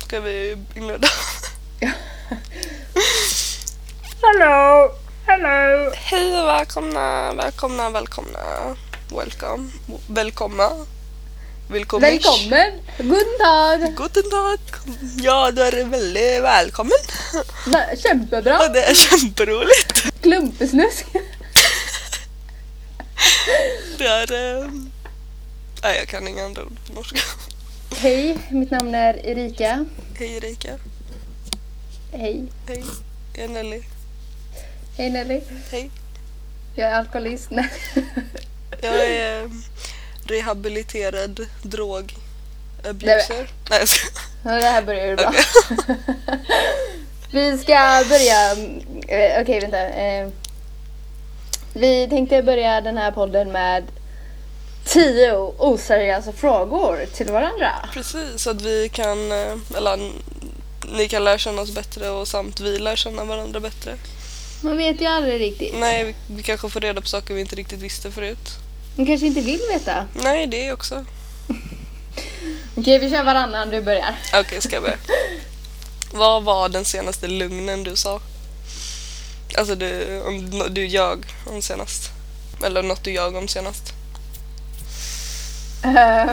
ska vi inleda. Hello! Hello! Hej och välkomna, välkomna, välkomna. Welcome. Välkomna. Välkommen. Välkommen! God dag! Guten Tag. Ja, du är väldigt välkommen. Nä, Kämpebra! Och det är jätteroligt. Klumpesnusk! Det är... Eh... Nej, jag kan inga andra ord på norska. Hej, mitt namn är Erika. Hej Erika. Hej. Hej. Jag är Nelly. Hej Nelly. Hej. Jag är alkoholist. Nej. Jag är eh, rehabiliterad drog... Abuser. Nej, jag skojar. Ja, Det här börjar ju bra. Vi ska börja... eh, Okej, vänta. Eh, Vi tänkte börja den här podden med tio oseriösa frågor till varandra. Precis, så att vi kan, eh, eller n- ni kan lära känna oss bättre och samt vi lär känna varandra bättre. Man vet ju aldrig riktigt. Nej, vi, vi kanske får reda på saker vi inte riktigt visste förut. Man kanske inte vill veta. Nej, det också. Okej, vi kör varannan. Du börjar. Okej, ska jag börja? Vad var den senaste lögnen du sa? Alltså du, om, nå- du ljög om senast. Eller något du ljög om senast. Eh,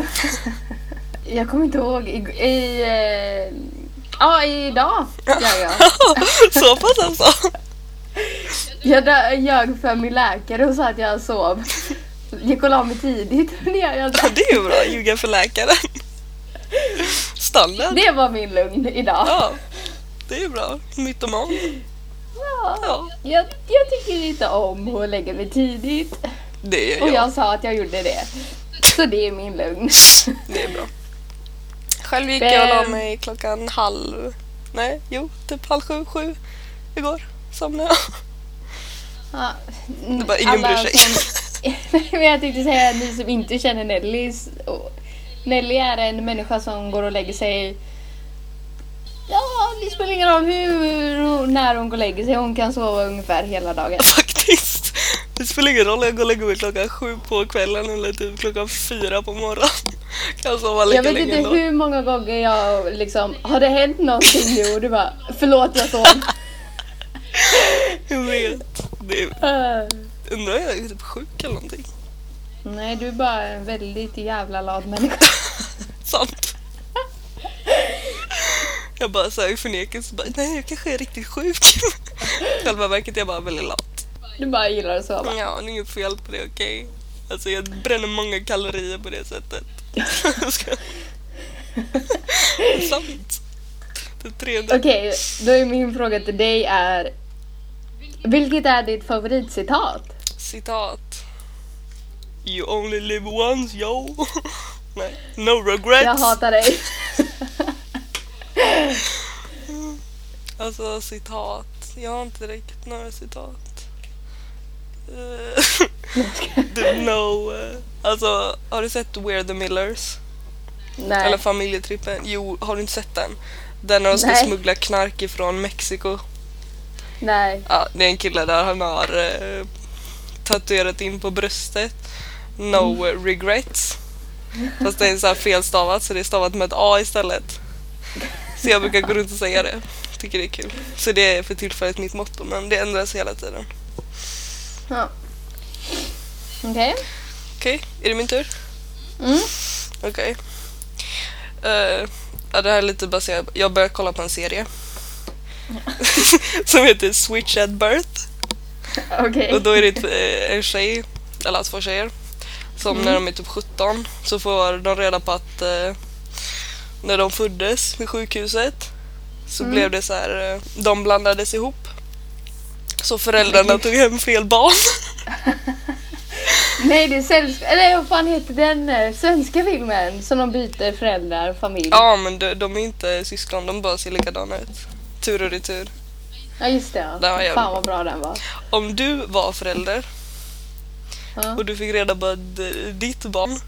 jag kommer inte ihåg. I... i eh, ja, idag ljög jag. Så pass alltså? Jag dö- ljög för min läkare och sa att jag sov. Gick och la mig tidigt. Det, gör jag Ja, inte. det är ju bra, ljuga för läkaren. Standard. det var min lugn idag. Ja, det är ju bra. Mytoman. Ja. Ja. Jag, jag tycker inte om att lägga mig tidigt. Det gör Och jag. jag sa att jag gjorde det. Så det är min lugn. Det är bra. Själv gick jag och la Ehm. mig klockan halv... Nej, jo, typ halv sju, sju igår. Somnade jag. Ja, Det bara, ingen alla bryr sig. som- Nej, men jag tänkte säga att ni som inte känner Nelly. s- och- Nelly är en människa som går och lägger sig. Ja, det spelar ingen roll hur och när hon går och lägger sig. Hon kan sova ungefär hela dagen. Faktiskt. Det spelar ingen roll om jag går och lägger mig klockan sju på kvällen eller typ klockan fyra på morgonen. Kan jag sova lika Jag vet länge inte ändå. hur många gånger jag liksom, har det hänt någonting nu? Och du bara, förlåt jag sov. Jag vet. Det är, Eh, undrar om jag är typ sjuk eller någonting. Nej, du är bara en väldigt jävla lat människa. Sant. Jag bara såhär i förnekelse bara, nej jag kanske är riktigt sjuk. I själva verket är jag bara väldigt lat. Du bara gillar att sova. Ja, det är inget fel på det, okej? Alltså jag bränner många kalorier på det sättet. Ska- Det är Sant. Det är 300. Okej, då är min fråga till dig är Vilket är ditt favoritcitat? Citat. You only live once, yo. Nej, no regrets. Jag hatar dig. Alltså citat. Jag har inte riktigt några citat. Eh, du know. eh, Alltså, har du sett We're the Millers? Eller Nej. familjetrippen. Jo, har du inte sett den? Den när de ska Nej. smuggla knark ifrån Mexiko. Nej. Ja, det är en kille där han har eh, tatuerat in på bröstet. No regrets. Fast det är så här felstavat så det är stavat med ett A istället. Så jag brukar gå runt och säga det. Tycker det är kul. Så det är för tillfället mitt motto men det ändras hela tiden. Ja. Okej. Okej, är det min tur? Mm. Okej. Eh, ja, det här är lite baserat på- Jag börjar kolla på en serie. som heter Switch at birth. Okej. Och då är det ett, eh, en tjej, eller två tjejer, som när de är typ 17 så får de reda på att eh, när de föddes vid sjukhuset så Mm. blev det så här, eh, de blandades ihop. Så föräldrarna tog hem fel barn. Nej, det är sällskap... Eller vad fan heter den eh, svenska filmen som de byter föräldrar och familj? Ja men de, de är inte syskon, de bara ser likadana ut. Tur och retur. Ja, just det. Den var Ja. jävligt Fan vad bra den var. Om du var förälder Ja. och du fick reda på att d- ditt barn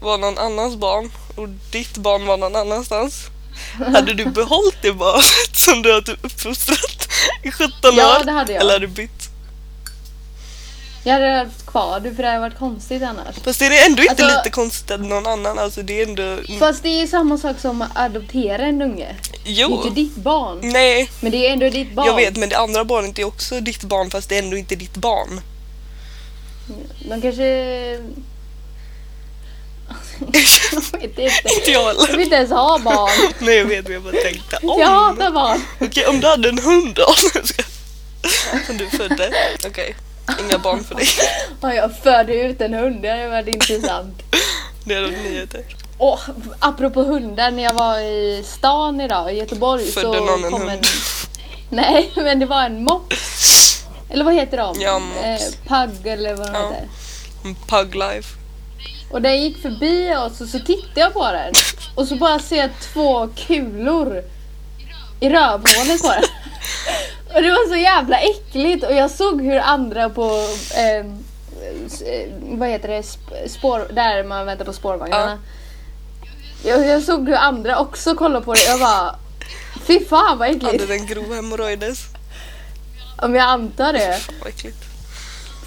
var någon annans barn och ditt barn var någon annanstans. Hade du behållit det barnet som du har typ uppfostrat i 17 Ja, år? det hade jag. Eller hade du bytt? Jag hade haft kvar det för det hade varit konstigt annars. Fast är det ändå inte Alltså- lite konstigt att någon annan, alltså det är ändå... Fast det är ju samma sak som att adoptera en unge. Det är Jo! inte ditt barn. Nej, Men det är ändå ditt barn. jag vet men det andra barnet är också ditt barn fast det är ändå inte ditt barn. De kanske... jag vet inte. Inte jag Jag heller. vill inte ens ha barn. Nej jag vet men jag bara tänkte om. Jag hatar barn. Okej om du hade en hund då? Som du födde. Okej, inga barn för dig. Ja, jag födde ut en hund, det hade varit intressant. Det är de nyheter. Och apropå hundar, när jag var i stan idag, i Göteborg, så Födde någon en kom en... hund? Nej, men det var en mops. Eller vad heter de? Eh, Ja, mops. pug eller vad de Ja. heter. Pug life. Och den gick förbi oss och så tittade jag på den. Och så bara ser jag två kulor i rövhålet på den. Och det var så jävla äckligt och jag såg hur andra på eh, s- eh, vad heter det, Sp- spår, där man väntar på spårvagnarna. Jag, jag såg hur andra också kollade på det jag bara Fy fan vad Hade äckligt! den grova hemorrojdes? Om jag antar det. Fan vad äckligt.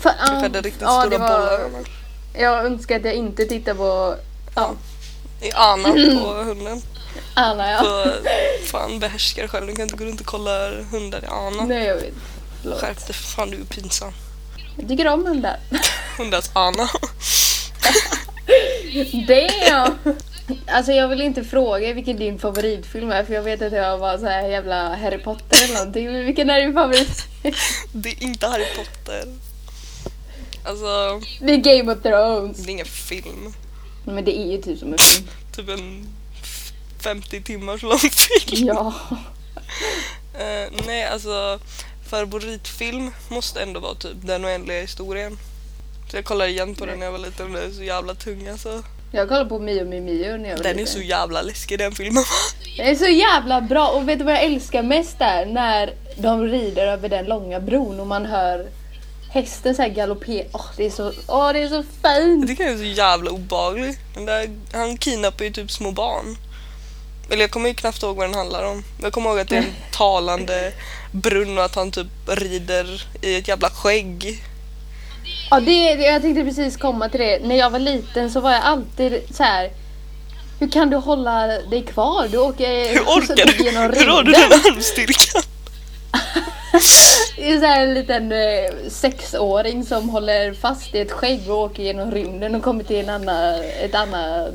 Fan, Jag hade riktigt ja, stora det var- bollar. Jag önskar att jag inte tittar på ja, I anan på hunden. Anna Mm. ja. Så fan behärskar själv. Du kan inte gå runt och kolla hundar i anan. Nej jag vet. Förlåt. Skärp dig för fan du är pinsam. Jag tycker om hundar. Hundars ana. Damn! Alltså jag vill inte fråga vilken din favoritfilm är för jag vet att jag var så här jävla Harry Potter eller någonting. Men vilken är din favorit? Det är inte Harry Potter. Alltså, Det är Game of Thrones. det är ingen film. Men det är ju typ som en film. Typ en 50 timmars lång film. Ja. Eh, nej, alltså favoritfilm måste ändå vara typ Den oändliga historien. Så jag kollar igen på den när jag var liten och den är så jävla tung alltså. Jag kollade på Mio Mio Mio när jag var Den är liten. så jävla läskig den filmen. Den är så jävla bra och vet du vad jag älskar mest där? När de rider över den långa bron och man hör hästen så här galoppera. Åh det är så, åh det är så Jag fint! tycker den är så jävla obehaglig. Den där, han kidnappar ju typ små barn. Eller jag kommer ju knappt ihåg vad den handlar om. Men Jag kommer ihåg att det är en talande brunn och att han typ rider i ett jävla skägg. Ja, det, det- jag tänkte precis komma till det. När jag var liten så var jag alltid så här. Hur kan du hålla dig kvar? Du åker Hur så orkar du? Alltså, genom Hur har du rymden. den armstyrkan? Det är så här en liten eh, sexåring som håller fast i ett skägg och åker genom rymden och kommer till en annan, ett annat...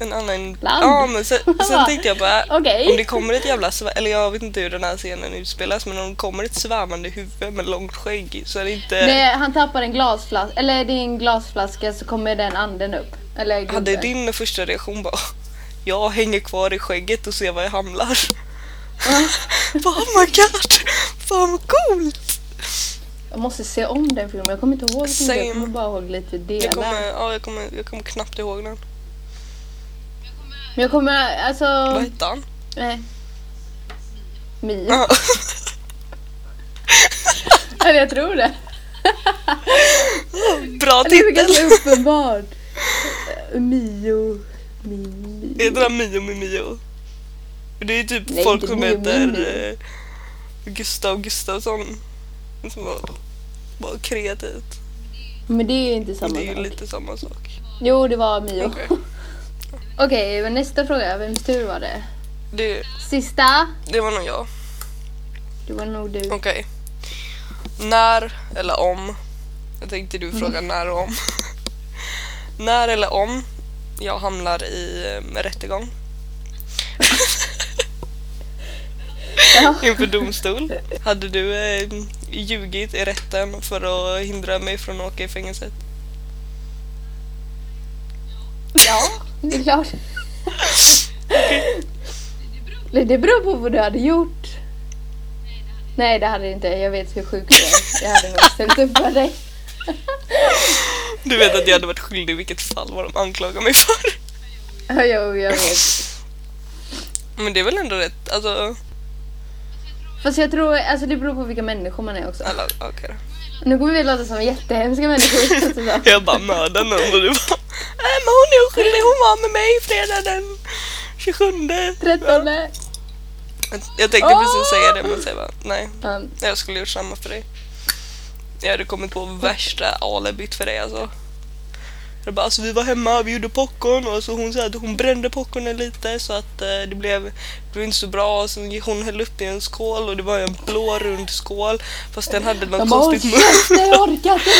En annan... Land. Ja, men sen, sen tänkte jag bara, Okej. om det kommer ett jävla... svär- Eller jag vet inte hur den här scenen utspelas, men om det kommer ett svävande huvud med långt skägg så är det inte... Nej, han tappar en glasflaska, eller det är en glasflaska så kommer den anden upp. Eller gubben. Hade din första reaktion bara jag hänger kvar i skägget och ser var jag hamnar. Bara, oh my god, fan vad coolt! Jag måste se om den filmen, jag kommer inte ihåg så mycket, Same. jag kommer bara ihåg lite delar. Jag kommer, ja, jag, kommer, jag kommer knappt ihåg den. Men jag kommer alltså... Vad hette han? Nej. Mio. Ja. Eller jag tror det. Bra Det är titel! ganska uppenbart. Eh, Mio. Mio. Heter den Mio med Mio? Det är typ Nej, folk inte som Mio med heter Mio. eh, Gustav Gustafsson. Som var, var kreativt. Men det är ju inte samma Det är ju sak. lite samma sak. Jo, det var Mio. Okej, Okej. men nästa fråga. Vems tur var det? Det, Sista. det var nog jag. Det var nog du. Okej. När eller om? Jag tänkte du Mm. fråga när och om. när eller om jag hamnar i eh, rättegång Ja. inför domstol. Hade du eh, ljugit i rätten för att hindra mig från att åka i fängelset? ja, det är klart. Nej, Det beror på vad du hade gjort. Nej, det hade jag inte. Jag vet hur sjuk du är. Jag hade nog ställt upp för dig. Du vet att jag hade varit skyldig i vilket fall vad de anklagar mig för. Ja, Jo, jag vet. Men det är väl ändå rätt, alltså... Fast jag tror, alltså det beror på vilka människor man är också. Alla, okej då. Nu kommer vi låta som jättehemska människor. Alltså, så. Jag bara mördar någon och du bara Nej Äh, men hon är oskyldig, hon var med mig fredag den 27 Trettonde. Jag tänkte precis säga det men säger bara nej. Ja. Jag skulle gjort samma för dig. Jag hade kommit på värsta alibit för det alltså. Det bara, alltså vi var hemma, vi gjorde popcorn och så hon sa att hon brände popcornen lite så att eh, det, blev, det blev inte så bra. Och så gick hon hällde upp i en skål och det var en blå rund skål fast den hade något De bara håll konstigt mun. käften, jag orkar inte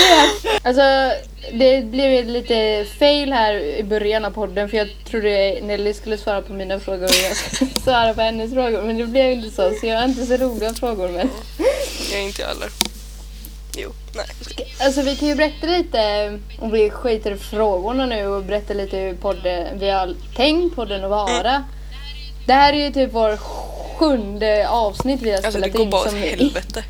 mer! Alltså det blev ju lite fail här i början av podden för jag trodde Nelly skulle svara på mina frågor och jag skulle svara på hennes frågor men det blev inte så så jag har inte så roliga frågor men Jag är inte jag heller. Jo, nej. jag skojar. Alltså vi kan ju berätta lite om vi skiter i frågorna nu och berätta lite hur podden, vi har tänkt podden att Mm. vara. Det här är ju typ vår sjunde avsnitt vi har Alltså det spelat går in. bara åt som vi- helvete.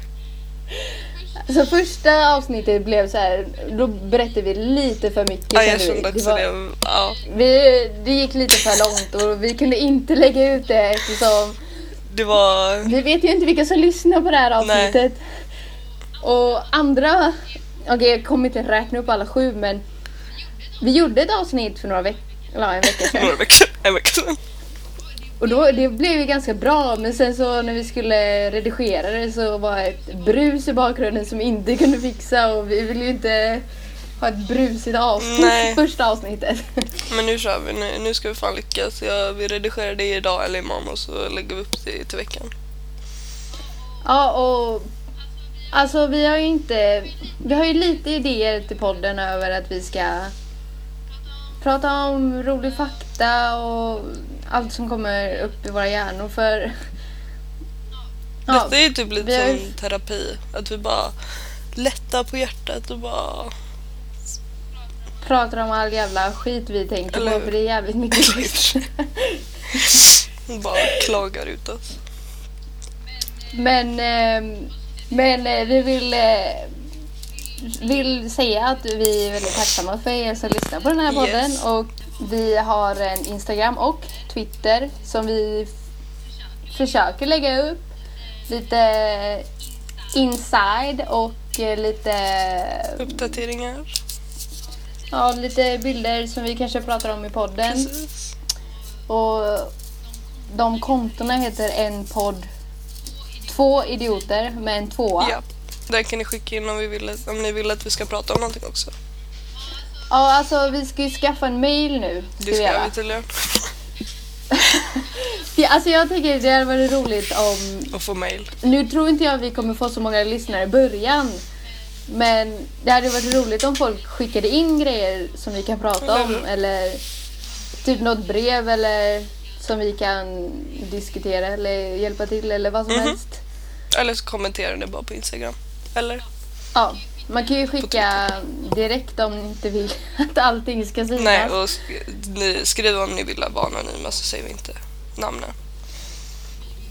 Så första avsnittet blev så här, då berättade vi lite för mycket. Ja, jag kände vi. kände också var- det. Ja. Vi, det gick lite för långt och vi kunde inte lägga ut det eftersom Det var... vi vet ju inte vilka som lyssnar på det här avsnittet. Och andra, okej jag kommer inte räkna upp alla sju men vi gjorde ett avsnitt för några veckor eller en vecka sedan. Några veckor sedan. En vecka sedan. Och då, det blev ju ganska bra men sen så när vi skulle redigera det så var det ett brus i bakgrunden som vi inte kunde fixa och vi ville ju inte ha ett brusigt avsnitt Nej. första avsnittet. Men nu kör vi. Nu, nu ska vi fan lyckas. Jag, vi redigerar det idag eller imorgon och så lägger vi upp det till veckan. Ja, och alltså vi har ju inte, vi har ju lite idéer till podden över att vi ska prata om rolig fakta och allt som kommer upp i våra hjärnor för ja, Detta är ju typ vi har lite ju- som terapi. Att vi bara lättar på hjärtat och bara... pratar om all jävla skit vi tänker Eller på hur? för det är jävligt mycket skit. bara klagar ut oss. Men, eh, men eh, vi vill, eh, vill säga att vi är väldigt tacksamma för er som lyssnar på den här podden. Yes. Och vi har en Instagram och Twitter som vi f- försöker lägga upp lite inside och eh, lite, Uppdateringar. ja, lite bilder som vi kanske pratar om i podden. Precis. Och de kontona heter en podd Två idioter med en tvåa. Ja. Där kan ni skicka in om, vi vill, om ni vill att vi ska prata om någonting också. Ja, alltså vi ska ju skaffa en mail nu. Ska Det vi ska göra. vi tydligen. Ja, alltså jag tycker det hade varit roligt om... Och få mail. Nu tror inte jag vi kommer få så många lyssnare i början. Men det hade varit roligt om folk skickade in grejer som vi kan prata om. Eller hur? Eller typ något brev eller som vi kan diskutera eller hjälpa till eller vad som Mhm. helst. Eller så kommentera det bara på Instagram. Eller? Ja, man kan ju skicka direkt om ni inte vill att allting ska synas. Nej, och sk- ni, skriv om ni vill vara anonyma så säger vi inte namnen.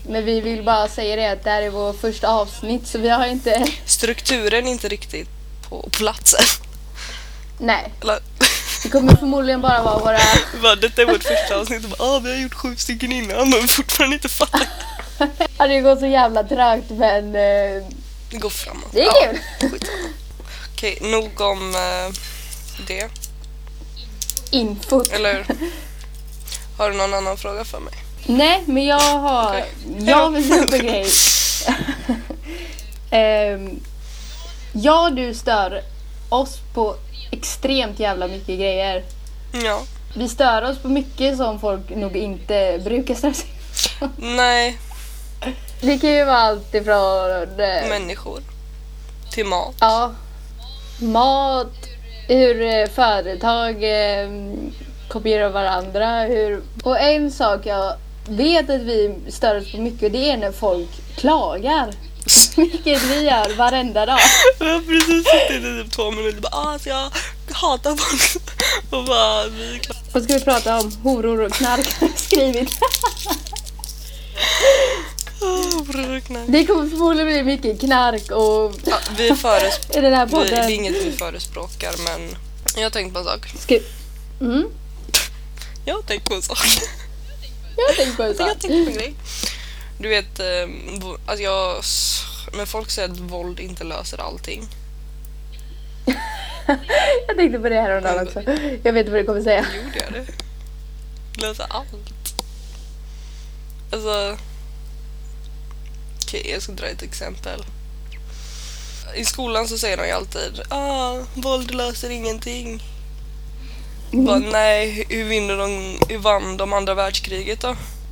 Men vi vill bara säga det att det här är vårt första avsnitt så vi har inte... Strukturen är inte riktigt på plats än. Nej, Eller, det kommer förmodligen bara vara våra... bara, Detta är vårt första avsnitt och bara, ah, vi har gjort sju stycken innan men fortfarande inte fattat. Ja, det går så jävla trögt men eh, Det går framåt. det Ja, är kul. skitsamma. Okej, nog om eh, det. Infot. Eller har du någon annan fråga för mig? Nej, men jag har... Okej. Jag vill ta upp en grej. Ehm, ja, du stör oss på extremt jävla mycket grejer. Ja. Vi stör oss på mycket som folk nog inte brukar störa sig på. Nej, Det kan ju vara allt ifrån... eh, människor. Till mat. Ja. Mat, hur eh, företag eh, kopierar varandra. Hur... Och en sak jag vet att vi stör oss på mycket det är när folk klagar. Vilket vi gör varenda dag. Jag har precis suttit i typ två minuter och bara ah, alltså jag hatar folk. Och bara, "Ah, vi är klara. Vad ska vi prata om? Horor och knark har jag skrivit. Ah, bror, knä. Det kommer förmodligen bli mycket knark och Ja, vi föres- i den här vi, det är podden. inget vi förespråkar men jag har tänkt på en sak. Ska... Mm, Jag har tänkt på en sak. jag tänkte på en Jag har sak. tänkt på en grej. Du vet, eh, vo- att jag... s- När folk säger att våld inte löser allting. Jag tänkte på det häromdagen också. Jag vet vad du kommer säga. Jo, det gör det. Löser allt. Alltså... Okej, jag ska dra ett exempel. i skolan så säger de ju alltid ah, våld löser ingenting. Mm. Bara, nej, hur, vinner de, hur vann de andra världskriget då?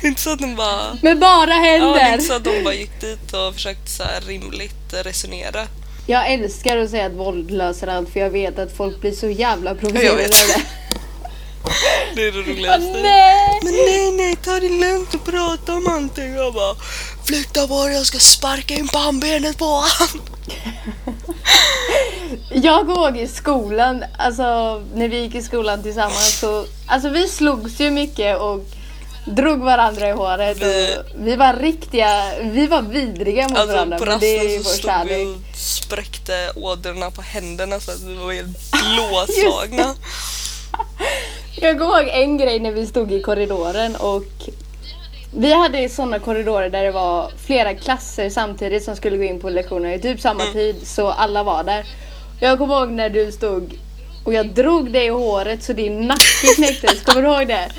det är inte så att de bara... Men bara Ja, det är händer! inte så att de bara gick dit och försökte så här rimligt resonera. Jag älskar att säga att våld löser allt för jag vet att folk blir så jävla provocerade av vet. det. Det är det Åh, roligaste. nej! Men nej, nej, ta det lugnt och prata om allting. Jag bara, flytta på dig, jag ska sparka in pannbenet på honom. Jag går ihåg i skolan, alltså när vi gick i skolan tillsammans så, alltså vi slogs ju mycket och drog varandra i håret Vi- Alltså, och vi var riktiga, vi var vidriga mot varandra på men det är ju rasten vår så stod vi kärlek. och spräckte ådrorna på händerna så att vi var helt blåslagna. Jag går ihåg en grej när vi stod i korridoren och vi hade sådana korridorer där det var flera klasser samtidigt som skulle gå in på lektionerna i typ samma Mm. tid så alla var där. Jag kommer ihåg när du stod och jag drog dig i håret så din nacke knäcktes, kommer du ihåg det?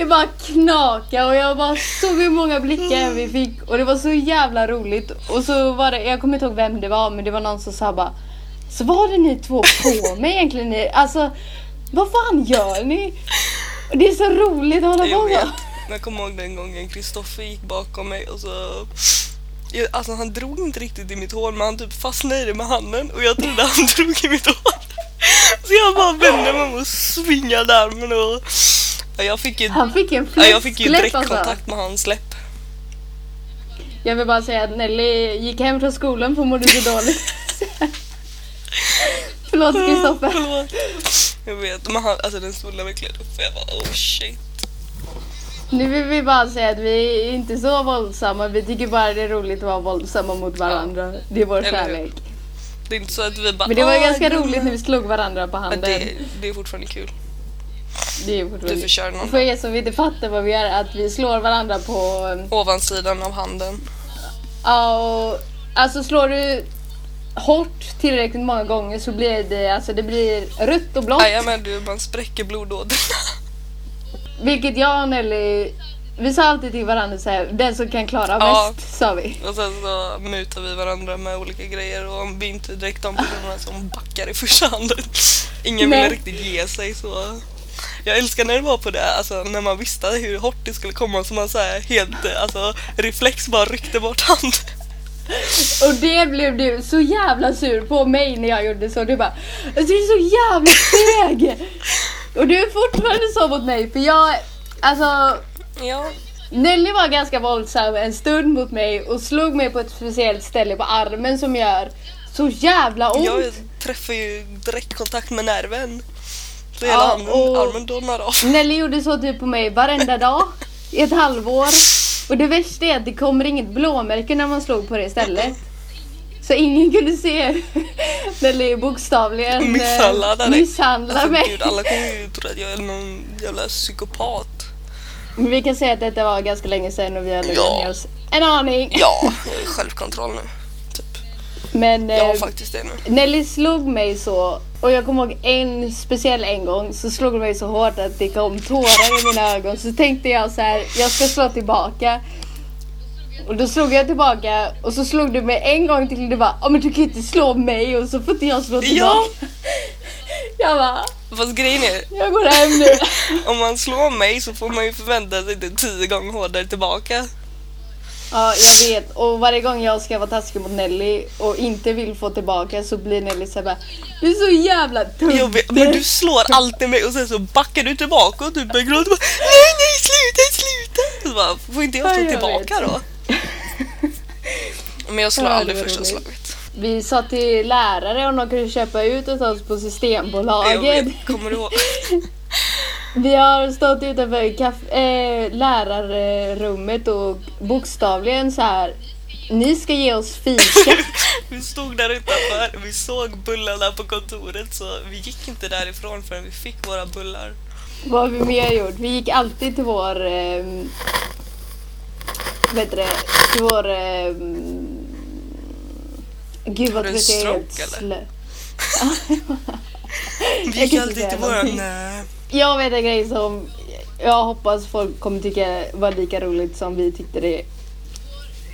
Det bara knakade och jag bara såg hur många blickar Mm. vi fick och det var så jävla roligt. Och så var det, jag kommer inte ihåg vem det var men det var någon som sa bara Så vad är ni två på med egentligen? Ni, alltså vad fan gör ni? Och Det är så roligt att hålla Jag på vet. så. Jag kommer ihåg den gången Kristoffer gick bakom mig och så... Jag, alltså han drog inte riktigt i mitt hår men han typ fastnade i det med handen och jag trodde han drog i mitt hår. Så jag bara vände mig om och svingade armen och... Ja, Jag fick ju, Han fick en ja, jag fick ju fläskläpp, direktkontakt med hans läpp. Jag vill bara säga att Nelly gick hem från skolan för hon mådde så dåligt. Förlåt Kristoffer. Förlåt. Jag vet, men han, alltså den svullnade verkligen upp och jag bara oh shit. Nu vill vi bara säga att vi är inte så våldsamma. Vi tycker bara det är roligt att vara våldsamma mot varandra. Det är vår Eller hur? kärlek. Det är inte så att vi bara Men det var ju "Ah, ganska gumman." roligt när vi slog varandra på Men handen. det, det är fortfarande kul. Det är ju roligt. Du förtjänar någon. För er som inte fattar vad vi gör, att vi slår varandra på... eh, Ovansidan av handen. Ja, och, alltså slår du hårt tillräckligt många gånger så blir det, alltså det blir rött och blått. Jajamän du, man spräcker blodådrorna. Vilket jag och Nelly, vi sa alltid till varandra så här, den som kan klara Ja. mest sa vi. Och sen så mutar vi varandra med olika grejer och om vi inte är direkt de personerna som backar i första handen. Ingen Nej. vill riktigt ge sig så. Jag älskar när det var på det, alltså när man visste hur hårt det skulle komma så man så här helt eh, alltså, reflex bara ryckte bort handen. Och det blev du så jävla sur på mig när jag gjorde så. Du bara, alltså du är så jävla feg! och du är fortfarande så mot mig för jag, alltså Ja, Nelly var ganska våldsam en stund mot mig och slog mig på ett speciellt ställe på armen som gör så jävla ont. jag träffar ju direktkontakt med nerven. Så Ja, hela handen, och- armen donnar av. Nelly gjorde så typ på mig varenda dag i ett halvår. Och det värsta är att det kommer inget blåmärke när man slog på det stället. Så ingen kunde se hur Nelly bokstavligen eh, Misshandlade dig. misshandlade Alltså mig. gud, alla kommer ju tro att jag är någon jävla psykopat. Men vi kan säga att detta var ganska länge sedan och vi har lugnat Ja. ner oss en aning. Ja, jag är självkontroll nu. Typ. Men Jag har eh, faktiskt det nu. Nelly slog mig så och jag kommer ihåg en speciell en gång så slog hon mig så hårt att det kom tårar i mina ögon så tänkte jag så här, jag ska slå tillbaka. Och då slog jag tillbaka och så slog du mig en gång till och du bara "Ja, men du kan ju inte slå mig och så får inte jag slå Ja. tillbaka. Jag bara, Fast grejen är, jag går hem nu. om man slår mig så får man ju förvänta sig det tio gånger hårdare tillbaka. Mm. Ja jag vet och varje gång jag ska vara taskig mot Nelly och inte vill få tillbaka så blir Nelly så här bara Du är så jävla tunt. Jag vet, men du slår alltid mig och sen så backar du tillbaka och du börjar gråta. Bara, nej, nej, sluta, sluta! Så bara, får inte jag Ja, slå jag tillbaka då? Men jag slår Ja, det aldrig var första roligt. slaget. Vi sa till lärare om de kunde köpa ut åt oss på Jag Systembolaget. vet, kommer du ihåg? Vi har stått utanför kaf- eh, lärarrummet och bokstavligen så här. Ni ska ge oss fika. Vi stod där utanför, vi såg bullarna på kontoret så vi gick inte därifrån förrän vi fick våra bullar. Vad har vi mer gjort? Vi gick alltid till vår... Eh, vad heter det? Till vår... Eh, gud vad du en trött jag är. helt stroke, slö. Vi kan gick inte alltid säga till våran... någonting. eh, Jag vet en grej som jag hoppas folk kommer tycka var lika roligt som vi tyckte det.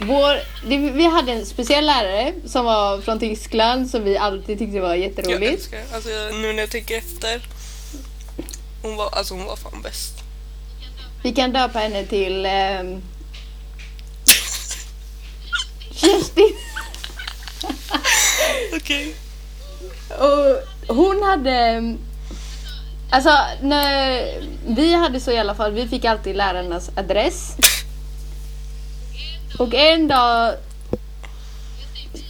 Vår, det, vi hade en speciell lärare som var från Tyskland som vi alltid tyckte var Jag jätteroligt. älskar det. Alltså jag, nu när jag tänker efter. Hon var, alltså hon var fan bäst. Vi kan döpa henne till ehm, Kerstin. Okej. Och hon hade... Alltså, när vi hade så i alla fall, vi fick alltid lärarnas adress. Och en dag...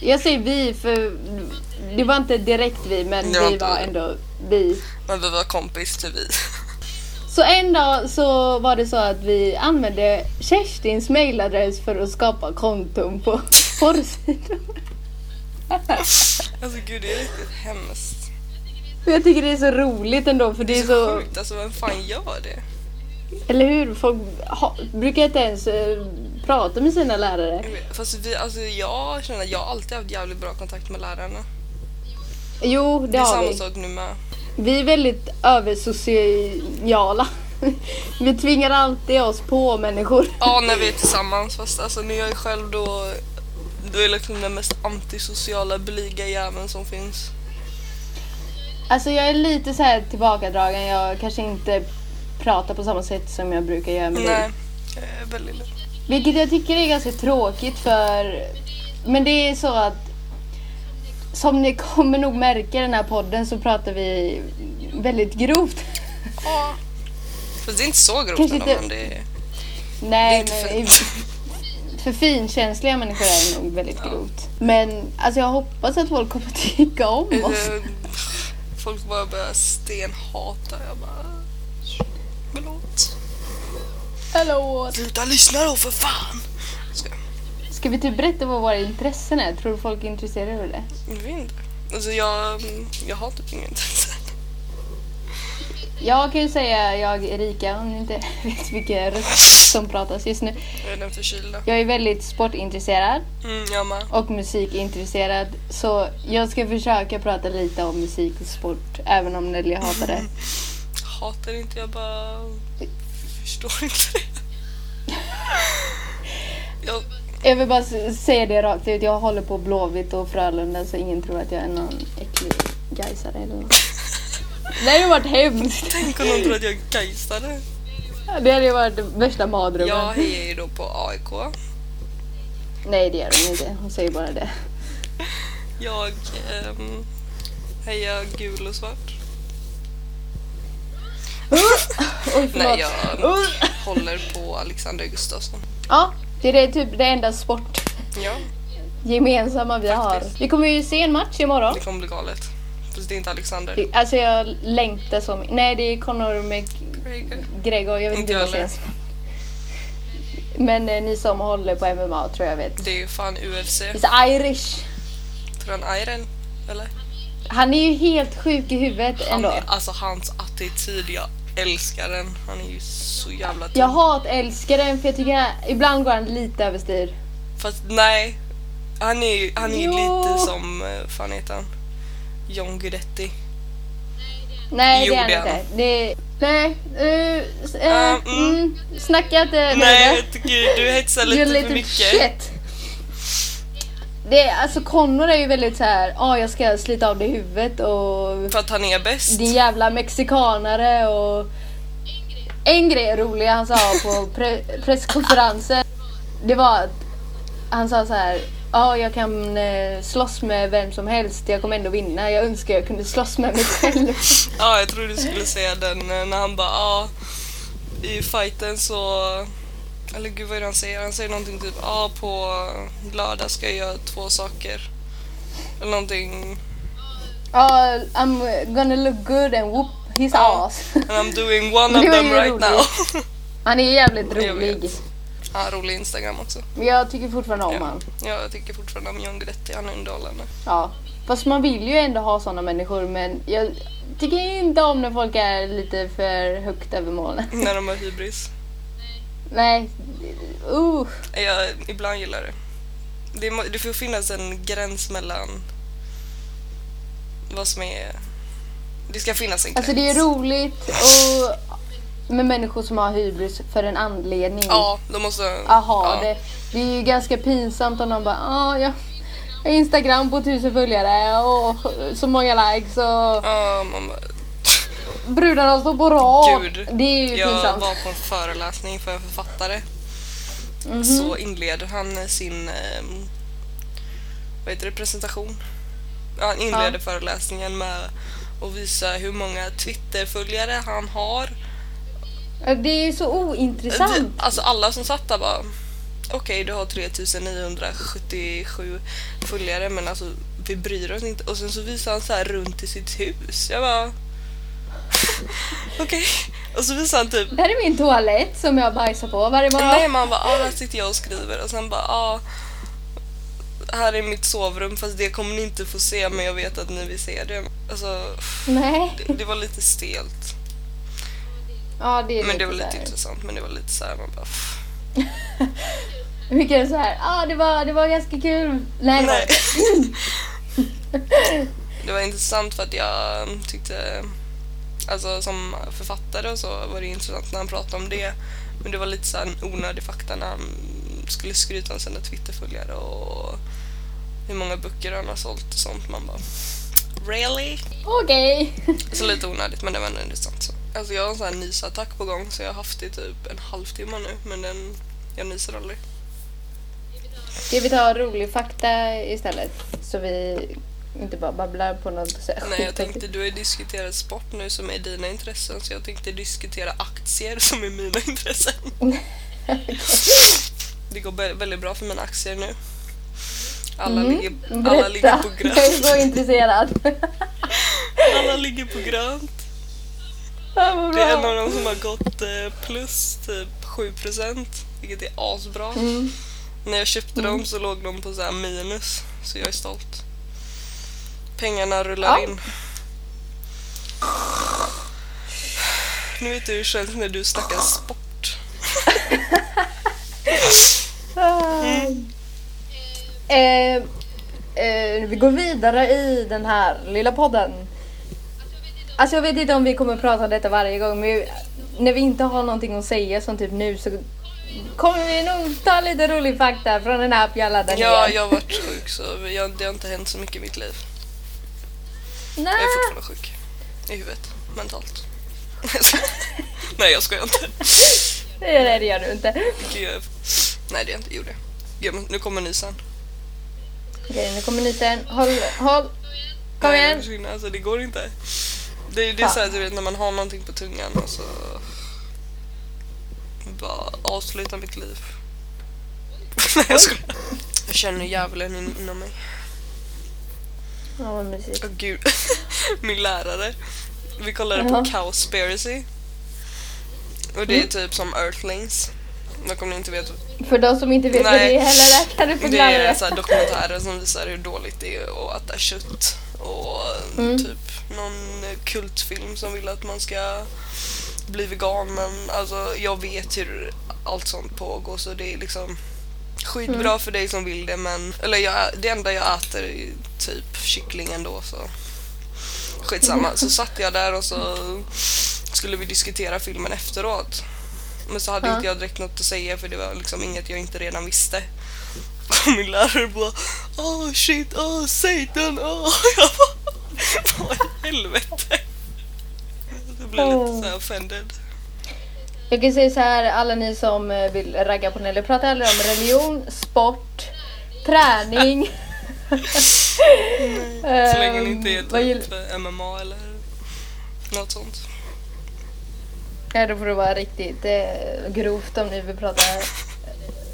Jag säger vi, för det var inte direkt vi, men Det var vi inte var vi. ändå vi. Men vi var kompis till vi. Så en dag så var det så att vi använde Kerstins mailadress för att skapa konton på porrsidor. Alltså gud det är riktigt hemskt. Jag tycker det är så roligt ändå för det är så... sjukt alltså vem fan gör det? Eller hur? Folk ha, brukar inte ens eh, prata med sina lärare. Jag vet, Fast vi, alltså jag känner att jag har alltid haft jävligt bra kontakt med lärarna. Jo, det, Det är har samma vi. sak nu med. Vi är väldigt översociala. vi tvingar alltid oss på människor. Ja, när vi är tillsammans. Fast alltså, när jag är själv då, då är jag liksom den mest antisociala blyga jäveln som finns. Alltså jag är lite så här tillbakadragen. Jag kanske inte pratar på samma sätt som jag brukar göra med dig. Nej, jag är väldigt lätt. Vilket jag tycker är ganska tråkigt för... Men det är så att... Som ni kommer nog märka i den här podden så pratar vi väldigt grovt. Ja. Fast det är inte så grovt Kanske ändå, inte- men det är, det är Nej, inte men fint. för finkänsliga människor är det nog väldigt grovt. Men alltså jag hoppas att folk kommer tycka om oss. Eller, Folk bara börjar stenhata. Jag bara... Förlåt. Hallå! Sluta lyssna då för fan! Ska jag? Ska vi typ berätta vad våra intressen är? Tror du folk är intresserade av det? Jag vet inte. Alltså jag, jag har typ inget intresse. Jag kan ju säga jag Erika om ni inte vet vilken röst som pratas just nu. Jag är den förkylda. Jag är väldigt sportintresserad. Mm, jag med. och musikintresserad. Så jag ska försöka prata lite om musik och sport, även om Nelly hatar det. Hatar inte, jag bara förstår inte det. Jag, Jag vill bara s- säga det rakt ut, jag håller på Blåvitt och Frölunda så ingen tror att jag är någon äcklig gaisare eller något. Det hade ju varit hemskt. tänk om någon tror att jag är Gaisare. Det hade ju varit värsta mardrömmen. Jag hejar ju då på AIK. Nej det gör hon inte, hon säger bara det. Jag ehm, hejar gul och svart. Oj förlåt. Nej, jag Uh! håller på Alexander Gustafsson. Ja, det är det, typ det enda sport Ja, gemensamma vi har. Faktiskt. Vi kommer ju se en match imorgon. det kommer bli galet. Fast det är inte Alexander. Det- Alltså jag längtar som... Nej det är Conor Gregor. McGregor, jag vet Inte inte hur jag det sägs. Men eh, ni som håller på MMA tror jag vet. Det är ju fan UFC. He's Irish! Från Iron, eller? Han är ju helt sjuk i huvudet Han ändå. är, alltså hans attityd, jag älskar den. Han är ju så jävla tung. Jag hatälskar den för jag tycker att ibland går han lite överstyr. Fast nej, han är ju han är ju Jo. lite som, eh, fan heter han? John Guidetti. Nej Jo, det det är är han inte. Det, nej, uh, s- eh, Ah, mm. mm, snacka inte Nej, jag tycker du hetsar Gör lite, lite för mycket. shit. Det är, alltså Connor är ju väldigt så här, ja jag ska slita av dig huvudet och För att han är bäst. din jävla mexikanare och en grej är rolig han sa på pre- presskonferensen det var att han sa så här ja jag kan eh, slåss med vem som helst jag kommer ändå vinna jag önskar jag kunde slåss med mig själv Ja, jag tror du skulle säga den eh, när han bara, ja, i fighten så... Eller gud vad är det han säger? Han säger någonting typ, ja på lördag ska jag göra två saker. Eller någonting. ja I'm gonna look good and whoop his Ja. ass And I'm doing one Det of var them ju right roligt. now. han är jävligt Jag rolig vet. Han har rolig Instagram också. men jag tycker fortfarande om Ja. han Jag tycker fortfarande om John Guidetti, han är underhållande. ja fast man vill ju ändå ha sådana människor men jag tycker inte om när folk är lite för högt över molnen När de har hybris. Nej. Uh. Jag, ibland gillar det. Det, må- det får finnas en gräns mellan vad som är... Det ska finnas en gräns. Alltså det är roligt och med människor som har hybris för en anledning. Ja, de måste... Aha, ja. det. Det är ju ganska pinsamt om någon bara ah, jag jag har Instagram på tusen följare och så många likes och Ja, man bara, brudarna står på rad. Gud. Det är ju jag pinsamt. var på en föreläsning för en författare. Mhm. Så inleder han sin ehm, vad heter det, presentation. Ja, Han inleder Ja. föreläsningen med att visa hur många Twitterföljare han har. Det är ju så ointressant. Det- Alltså alla som satt där bara okej du har 3977 följare men alltså vi bryr oss inte. Och sen så visar han så här runt i sitt hus. Jag bara okej. Och så visar han typ Där är min toalett som jag bajsar på varje morgon. Nej man bara ah, där sitter jag och skriver och sen bara ah, här är mitt sovrum fast det kommer ni inte få se men jag vet att ni vill se det. Alltså, Nej. det, det var lite stelt. Ja, det är Men det var så lite här. intressant men det var lite såhär man bara pff. Mycket är så här, ah, det, var, det var ganska kul. Nej, det var Nej. inte. Det var intressant för att jag um, tyckte, alltså som författare och så var det intressant när han pratade om det. Men det var lite så här en onödig fakta när han skulle skryta om sina Twitterföljare och hur många böcker han har sålt och sånt. Man bara really? Okej. Så lite onödigt men det var ändå intressant. Så. Alltså jag har en sån här nysattack på gång så jag har haft det i typ en halvtimme nu men den, jag nyser aldrig. Ska vi ta rolig fakta istället? Så vi inte bara babblar på något så här Nej jag skit. tänkte du har ju diskuterat sport nu som är dina intressen så jag tänkte diskutera aktier som är mina intressen. Okej. Det går vä- väldigt bra för mina aktier nu. Alla, Mm. ligger, alla, Berätta. ligger på Jag är så grönt. intresserad. alla ligger på grönt. Ja, vad Det är en bra. av dem som har gått eh, plus typ 7% vilket är asbra. Mm. När jag köpte dem så låg de på så här minus så jag är stolt. Pengarna rullar Ja. in. Nu vet du hur det känns när du snackar sport. Ah. Eh, eh, vi går vidare i den här lilla podden. Alltså jag vet inte om vi kommer prata om detta varje gång men vi- när vi inte har någonting att säga som typ nu så kommer vi nog ta lite rolig fakta från den här app jag laddade Ja, ner. jag har varit sjuk så jag, det har inte hänt så mycket i mitt liv. Nej. Jag är fortfarande sjuk. I huvudet. Mentalt. Nej jag skojar inte. Nej det gör du inte. Gud, jag- Nej det är inte. Jo det. Gud, men nu kommer nysen. Okej nu kommer nyten. Håll, håll. Kom Nej, igen. det försvinner. Alltså det går inte. Det är ju det är så här, du vet när man har någonting på tungan och så... Bara avsluta mitt liv. Nej jag skojar. Jag känner djävulen in- inom mig. Ja vad mysigt. Åh gud. Min lärare. Vi kollade på Jaha. Cowspiracy. Och Mm. det är typ som Earthlings. Jag kommer ni inte veta För de som inte vet vad Nej. det är heller kan du Det förklara är alltså- så det. här dokumentärer som visar hur dåligt det är att äta kött och Mm. typ någon kultfilm som vill att man ska bli vegan men alltså jag vet hur allt sånt pågår så det är liksom skitbra Mm. för dig som vill det men eller jag, det enda jag äter är typ kyckling ändå så skitsamma. Mm. Så satt jag där och så skulle vi diskutera filmen efteråt men så hade Ja. inte jag direkt något att säga för det var liksom inget jag inte redan visste. Och min lärare bara Åh shit, åh Satan, åh! Jag bara Vad i helvete? Jag blev lite såhär offended. Jag kan säga så här, alla ni som eh, vill ragga på Nelly pratar aldrig om religion, sport, träning. Så länge det inte är Ehm, vad gill- typ MMA eller något sånt. Nej, då får det vara riktigt eh, grovt om ni vill prata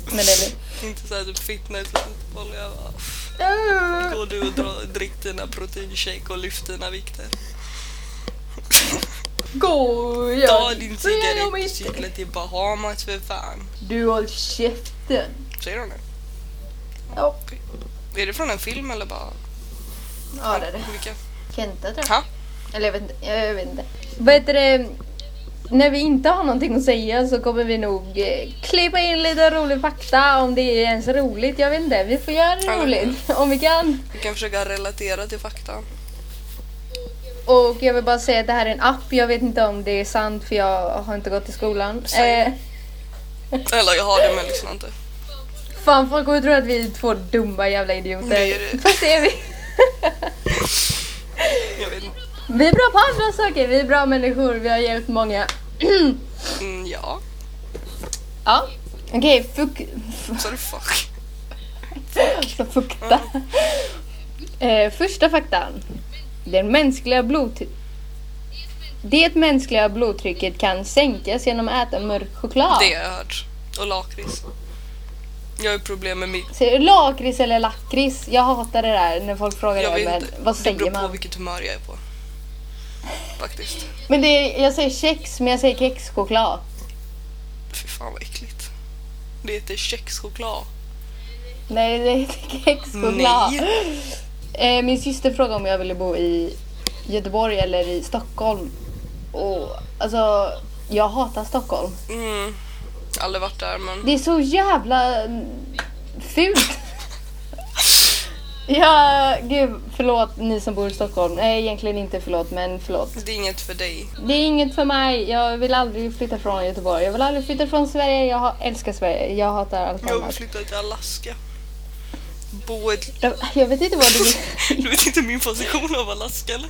med Nelly. Inte såhär typ fitness och fotboll. Jag bara "Pff, Gå du och dra, drick dina proteinshake och lyft dina vikter. Gå, jag Ta din ser dem cigarett och inte. cykla till Bahamas för fan. Du håll käften. Säger de det? Ja, Är det från en film eller bara? ja det är det. Vilken? Kenta tror jag. Ha? Eller jag vet inte. Jag vet inte. Vad heter det? När vi inte har någonting att säga så kommer vi nog eh, klippa in lite rolig fakta om det är ens roligt. Jag vet inte. Vi får göra Ja, det men- roligt om vi kan. Vi kan försöka relatera till fakta. Och jag vill bara säga att det här är en app. Jag vet inte om det är sant för jag har inte gått i skolan. Säg. Eh, Eller jag har det men liksom inte. Fan folk kommer tro att vi är två dumma jävla idioter. Det är det. Fast det är vi. Jag vet inte. Vi är bra på andra saker, vi är bra människor, vi har hjälpt många. Mm, ja. ja. Okej, fuk... Så är det fuck. Så fukta. Eh, första faktan. Den mänskliga blodtry- Det mänskliga blodtrycket kan sänkas genom att äta mörk choklad. Det har jag hört. Och lakrits. Jag har ju problem med mitt. Så, lakrits eller lakrits? Jag hatar det där när folk frågar Jag det. vet Men inte. vad Det säger beror på man? vilket humör jag är på. Faktiskt. Men det är, jag säger kex, men jag säger kexchoklad. Fy fan vad äckligt. Det heter kexchoklad. Nej, det är kexchoklad. Eh, min syster frågade om jag ville bo i Göteborg eller i Stockholm. Och alltså, jag hatar Stockholm. Mm. Aldrig varit där men. Det är så jävla mm, fult. Ja, gud, förlåt ni som bor i Stockholm. Nej, egentligen inte förlåt, men förlåt. Det är inget för dig. Det är inget för mig. Jag vill aldrig flytta från Göteborg. Jag vill aldrig flytta från Sverige. Jag ha- älskar Sverige. Jag hatar allt Jag vill annat. flytta till Alaska. Bo ett... Jag, jag vet inte vad du vill. Du vet inte min position av Alaska eller?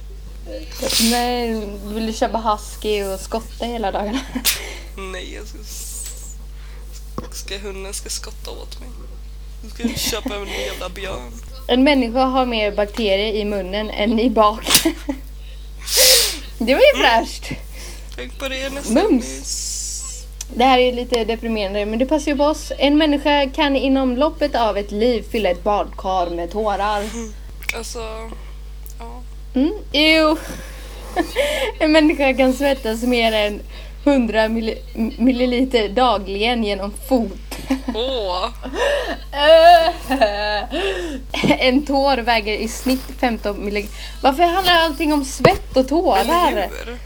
Nej, vill du köpa husky och skotta hela dagarna? Nej, jag ska... ska hunden ska skotta åt mig. Nu ska jag köpa en jävla björn. En människa har mer bakterier i munnen än i baken. Det var ju fräscht. Tänk på det nästa Mums. nyss. Det här är lite deprimerande, men det passar ju på oss. En människa kan inom loppet av ett liv fylla ett badkar med tårar. Alltså, ja. Mm. Ew. En människa kan svettas mer än 100 milli- m- milliliter dagligen genom fot. Åh, En tår väger i snitt 15 milligram. Varför handlar allting om svett och tårar? djur.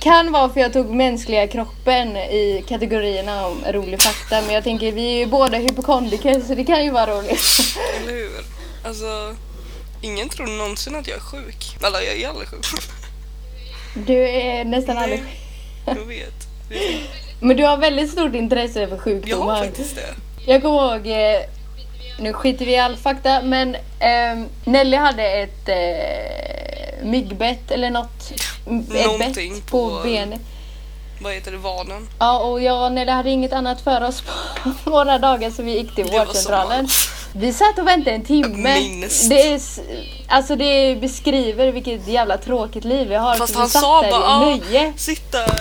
Kan vara för jag tog mänskliga kroppen i kategorierna om rolig fakta men jag tänker vi är ju båda hypokondriker så det kan ju vara roligt. Eller hur? Alltså, ingen tror någonsin att jag är sjuk. Eller jag är aldrig sjuk. Du är nästan aldrig Nej, Jag vet. Det är- Men du har väldigt stort intresse för Jag har sjukdomar. faktiskt det. Jag kommer ihåg, eh, nu skiter vi i all fakta, men ehm, Nelly hade ett eh, myggbett eller något. m- Ett Någonting bett på, på- benet. Vad heter det? Vanen? Ja, och jag och Nelly hade inget annat för oss på några dagar så vi gick till Det var vårdcentralen. sommar. Vi satt och väntade en timme. Minst. Det, är, s- alltså det beskriver vilket jävla tråkigt liv vi har. Fast för vi han satt sa där i bara ah, nöje. sitta.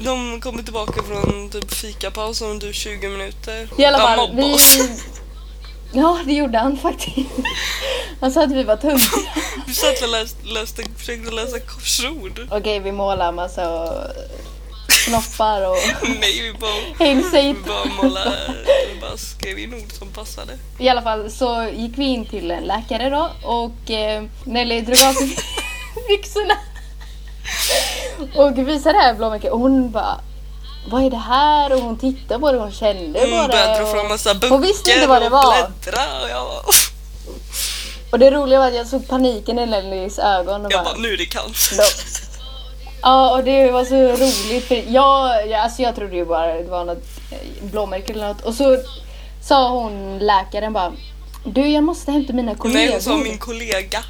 De kommer tillbaka från typ fikapaus om du 20 minuter. I alla Han fall, mobbade vi... oss. Ja, det gjorde han faktiskt. Han sa att vi var tuntiga. Vi satt och läste, läste, försökte läsa korsord. Okej, vi målar massa snoppar och Nej, vi bara, vi hälsigt. bara målade, vi bara skrev in ord som passade. I alla fall så gick vi in till en läkare då och eh, Nelly drog av sig byxorna. Och visade det här blåmärket och hon bara Vad är det här? Och hon tittade på det, hon kände på det. Hon Mm, började dra fram massa böcker Hon visste inte vad det var. och bläddra. Och jag bara, Och det roliga var att jag såg paniken i Nellys ögon och jag bara bara nu är det cancer. Ja. Ja, och det var så roligt för jag, jag, alltså jag trodde ju bara det var något eh, blåmärke eller något. Och så sa hon, läkaren bara Du jag måste hämta mina kollegor. Nej, hon sa min kollega.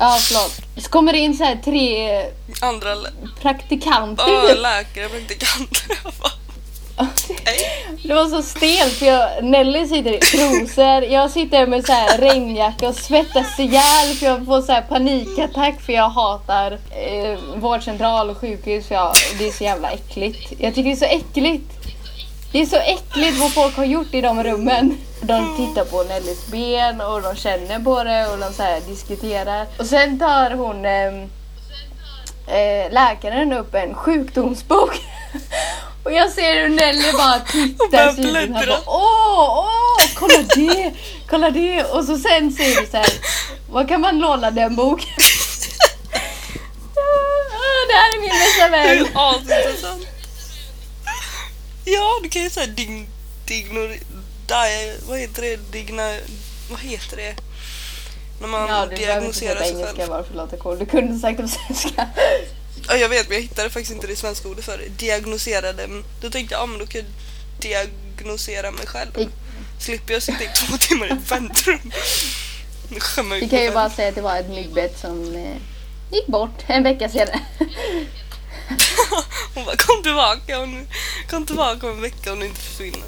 Ja, förlåt. Så kommer det in så här tre eh, Andra lä- praktikanter. ah, läkare, praktikanter. Jag bara, nej. det var så stelt för jag, Nelly sitter i trosor, jag sitter med så här regnjacka och svettas ihjäl för jag får så här panikattack för jag hatar eh, vårdcentral och sjukhus för jag, det är så jävla äckligt. Jag tycker det är så äckligt. Det är så äckligt vad folk har gjort i de rummen. De tittar på Nellys ben och de känner på det och de så här diskuterar. Och sen tar hon ehm, eh, läkaren upp en sjukdomsbok. Och jag ser hur Nelly bara Och börjar tittar sig i den här bläddra. och bara, åh, åh, kolla det, kolla det. Och så sen säger vi så här, vad kan man låna den boken? Ah, Det här är min bästa Det vän. är asintressant. Ja, du kan ju säga dig, dignor... Di, vad heter det? Digna... Vad heter det? När man Ja, du behöver inte diagnoserar sätta sig själv. engelska bara för låta cool. Du kunde sagt det på svenska. Ja, jag vet, men jag hittade faktiskt inte det svenska ordet för det. Diagnoserade. Då tänkte jag, ja men då kan jag diagnosera mig själv. slipper jag sitta i två timmar i ett väntrum. Skämma ut Vi kan ju mig bara själv. säga att det var ett myggbett som eh, gick bort en vecka senare. Hon bara kom tillbaka, om, kom tillbaka om en vecka om du inte försvinner.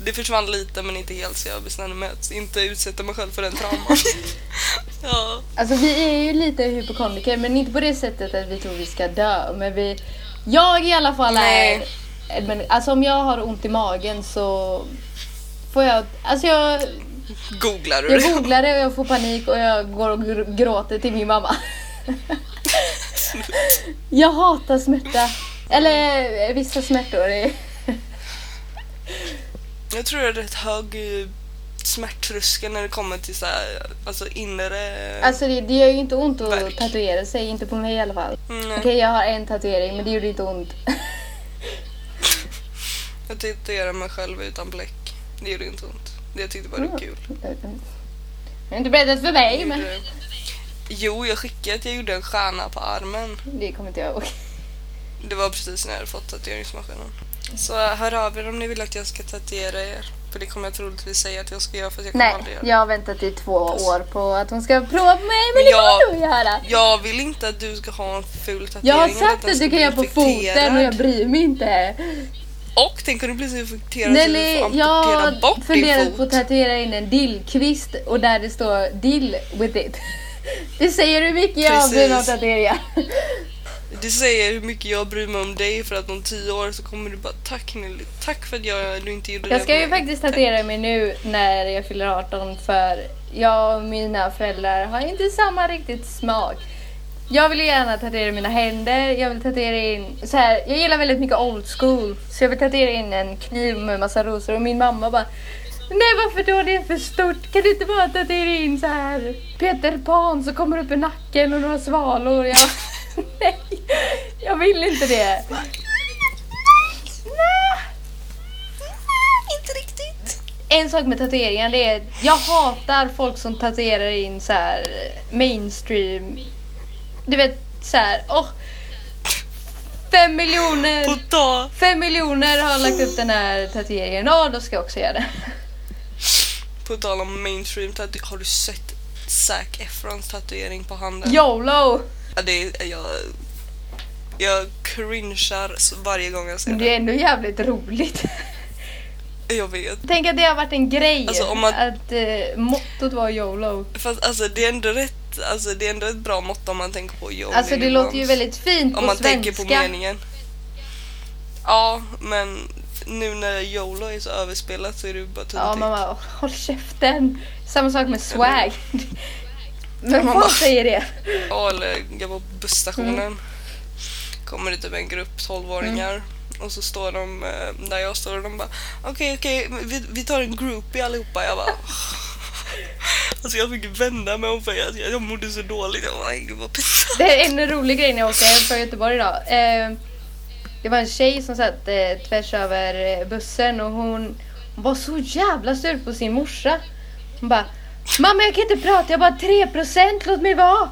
Det försvann lite men inte helt så jag bestämde mig att inte utsätta mig själv för den trauman. ja. Alltså vi är ju lite hypokondriker men inte på det sättet att vi tror vi ska dö. Men vi... Jag i alla fall är... Nej. Men, alltså om jag har ont i magen så får jag... Alltså jag, Googlar du jag det? googlar det och jag får panik och jag går och gr- gråter till min mamma. jag hatar smärta. Eller eh, vissa smärtor. är- Jag tror jag har rätt hög eh, smärttröskel när det kommer till så här, alltså inre... Alltså det, det gör ju inte ont att Verk. tatuera sig. Inte på mig i alla fall. Mm, Nej. Okej jag har en tatuering men det gjorde inte ont. Jag tatuerade mig själv utan bläck. Det gjorde inte ont. Det jag tyckte bara det var kul. Jag har inte berättat för mig Jag Mm. men... gjorde- Jo, jag skickade att jag gjorde en stjärna på armen. Det kommer inte jag ihåg. Det var precis när jag hade fått tatueringsmaskinen. Så hör av er om ni vill att jag ska tatuera er. För det kommer jag troligtvis säga att jag ska göra för jag kommer Nej, aldrig göra det. jag har väntat i två år på att hon ska prova på mig men det Alltså. Ja. kommer du att göra. Jag vill inte att du ska ha en ful tatuering. Jag har eller sagt den att ska du kan bli göra på infekterad. foten och jag bryr mig inte. Och tänk om du blir så infekterad så Nelly, du får jag amputera har bort din funderat fot. på att tatuera in en dillkvist och där det står deal with it. Det säger hur mycket jag har Precis. blivit av tatueringar. Det säger hur mycket jag bryr mig om dig för att om tio år så kommer du bara tack Nelly, tack för att jag, du inte gjorde det Jag ska för ju mig." faktiskt tatuera mig nu när jag fyller 18 för jag och mina föräldrar har inte samma riktigt smak. Jag vill gärna tatuera mina händer, jag vill tatuera in... Så här, jag gillar väldigt mycket old school så jag vill tatuera in en kniv med massa rosor och min mamma bara Nej varför då, det är för stort. Kan du inte bara tatuera in så här Peter Pan som kommer upp ur nacken och några svalor? Jag bara, Nej, jag vill inte det. Inte riktigt. En sak med tatueringar det är jag hatar folk som tatuerar in så här eh, mainstream. Du vet så här, åh. Fem miljoner, På dag. fem miljoner har lagt upp den här tatueringen. Ja, då ska jag också göra det. På tal om mainstream tatu- har du sett Zac Efrons tatuering på handen? YOLO! Ja, det är, jag, jag cringear så varje gång jag ser Men det. det är ändå jävligt roligt. Jag vet. Tänk att det har varit en grej. Alltså, om man- Att eh, mottot var YOLO. Fast alltså det är ändå rätt, alltså det är ändå ett bra mått om man tänker på Joe Alltså det Lillemans. låter ju väldigt fint på Om man svenska. tänker på meningen. Ja, men nu när YOLO är så överspelat så är det ju bara töntigt. Ja, man bara, håll käften. Samma sak med swag. Men man folk bara- säger det. Ja, eller eh, jag var på busstationen. Mm. Kommer det typ en grupp 12-åringar. Mm. Och så står de eh, där jag står och de bara okej okej vi, vi tar en groupie allihopa. Jag bara Alltså jag fick vända mig om för jag, jag mådde så dåligt. Jag bara, "Gud, vad pinsamt. Det är en rolig grej när jag åkte hem från Göteborg idag. Eh, det var en tjej som satt eh, tvärs över eh, bussen och hon var så jävla sur på sin morsa. Hon bara Mamma jag kan inte prata, jag har bara 3% låt mig vara.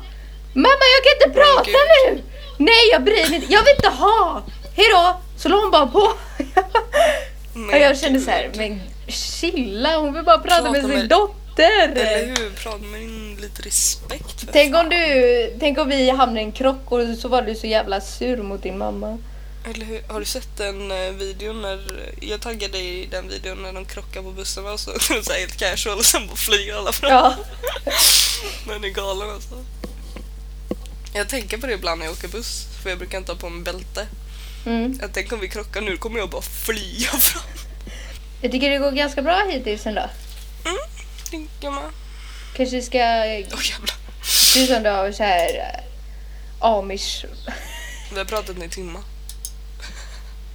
Mamma jag kan inte prata nu! Nej jag bryr mig inte, jag vill inte ha! Hejdå! Så la hon bara på. Men Och jag kände så här, gud. men chilla hon vill bara prata Prata med sin med- dotter. Eller hur? Prata med in lite respekt. För eh, Tänk om, fan. du, tänk om vi hamnar i en krock och så var du så jävla sur mot din mamma. Eller hur? Har du sett den eh, videon när... eh, Jag taggade i den videon när de krockar på bussen och så, så här helt casual och sen bara flyger alla fram. Ja. Den är galen alltså. Jag tänker på det ibland när jag åker buss, för jag brukar inte ha på mig bälte. Mm. Jag tänker om vi krockar nu kommer jag bara flyga fram. Jag tycker det går ganska bra hittills ändå. Mm, tänker man. Kanske ska... Åh jävlar. Du som du har så här... eh, Amish. Vi har pratat i timmar.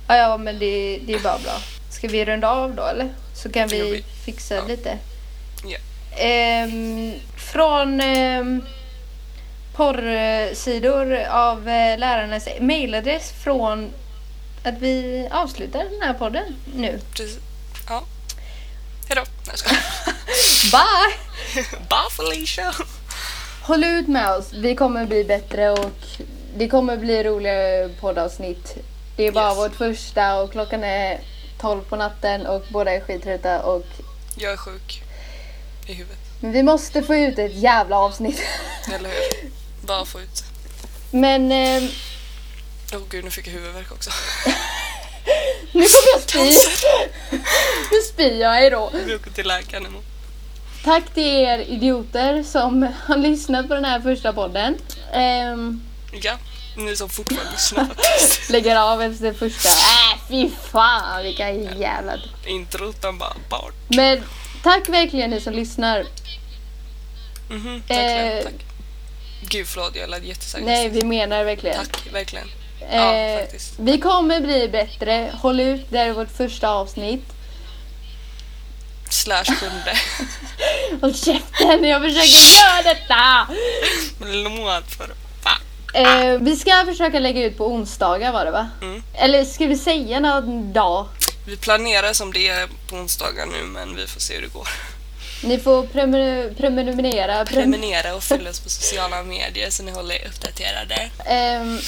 Ja, ja men det, det är bara bra. Ska vi runda av då eller? Så kan Jo, vi vi- fixa ja. lite. Ja. Ehm, från ehm, porrsidor av eh, lärarnas mailadress från att vi avslutar den här podden nu. Precis. Ja. Hejdå. Nej jag skojar. Bye! Bye Felicia! Håll ut med oss. Vi kommer bli bättre och det kommer bli roliga poddavsnitt. Det är bara Yes. vårt första och klockan är 12 på natten och båda är skittrötta och Jag är sjuk. I huvudet. Men vi måste få ut ett jävla avsnitt. Eller hur? Bara få ut. Men eh, Åh gud, nu fick jag huvudvärk också. nu kommer jag spy. nu spyr jag idag. Vi åker till läkaren imorgon. Tack till er idioter som har lyssnat på den här första podden. Ehm, Ja, ni som fortfarande lyssnar faktiskt. lägger av efter första. Äh, fy fan vilka jävla... Inte utan bara barn. Men tack verkligen ni som lyssnar. Mhm, tack, Lena, Eh, tack. Gud förlåt, jag lät jätteseriös. Nej, vi menar verkligen. Tack, verkligen. Ja, Eh, faktiskt. vi kommer bli bättre. Håll ut, det här är vårt första avsnitt. Slash sjunde. Håll käften, jag försöker göra detta! Men låt för fan. Eh, vi ska försöka lägga ut på onsdagar var det va? Mm. Eller ska vi säga någon dag? Vi planerar som det är på onsdagar nu, men vi får se hur det går. Ni får prenumer- prenumerera. Prem- Prenumerera och följ oss på sociala medier så ni håller er uppdaterade. ehm,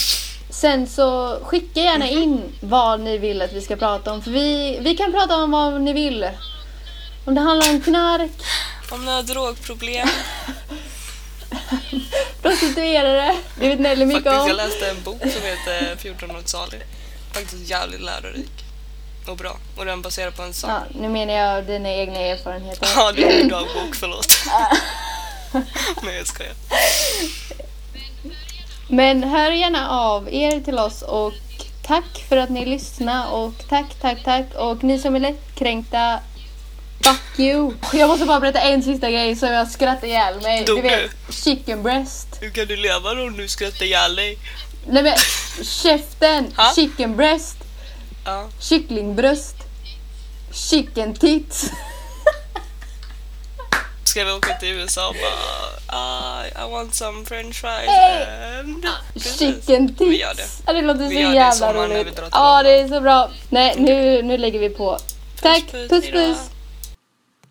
sen så skicka gärna Mm-hmm. in vad ni vill att vi ska prata om. För vi, vi kan prata om vad ni vill. Om det handlar om knark, Om ni har drogproblem, prostituerade, det vet Nelly mycket faktiskt jag om. läste en bok som heter 1400-talet. Faktiskt jävligt lärorik. Och bra. Och den baserar på en sann. Ja, nu menar jag dina egna erfarenheter. Ja, det är en dagbok, förlåt. Nej, jag skojar. Men hör gärna av er till oss och tack för att ni lyssnade och tack, tack, tack. Och ni som är lättkränkta, fuck you. Jag måste bara berätta en sista grej som jag skrattade ihjäl mig. Dog Du vet, chicken breast. Hur kan du leva då om du skrattar ihjäl dig? Nej men käften! Ha? Chicken breast, Ja. kycklingbröst, chicken tits. Ska vi åka till USA och bara ah, I want some french fries Hey! and... Precis. Chicken tits. Vi gör det. Ja, det låter så Vi gör det i jävla sommar när vi roligt. drar till Ja, London. det är så bra. Nej, nu, nu lägger vi på. Tack, puss puss. hejdå.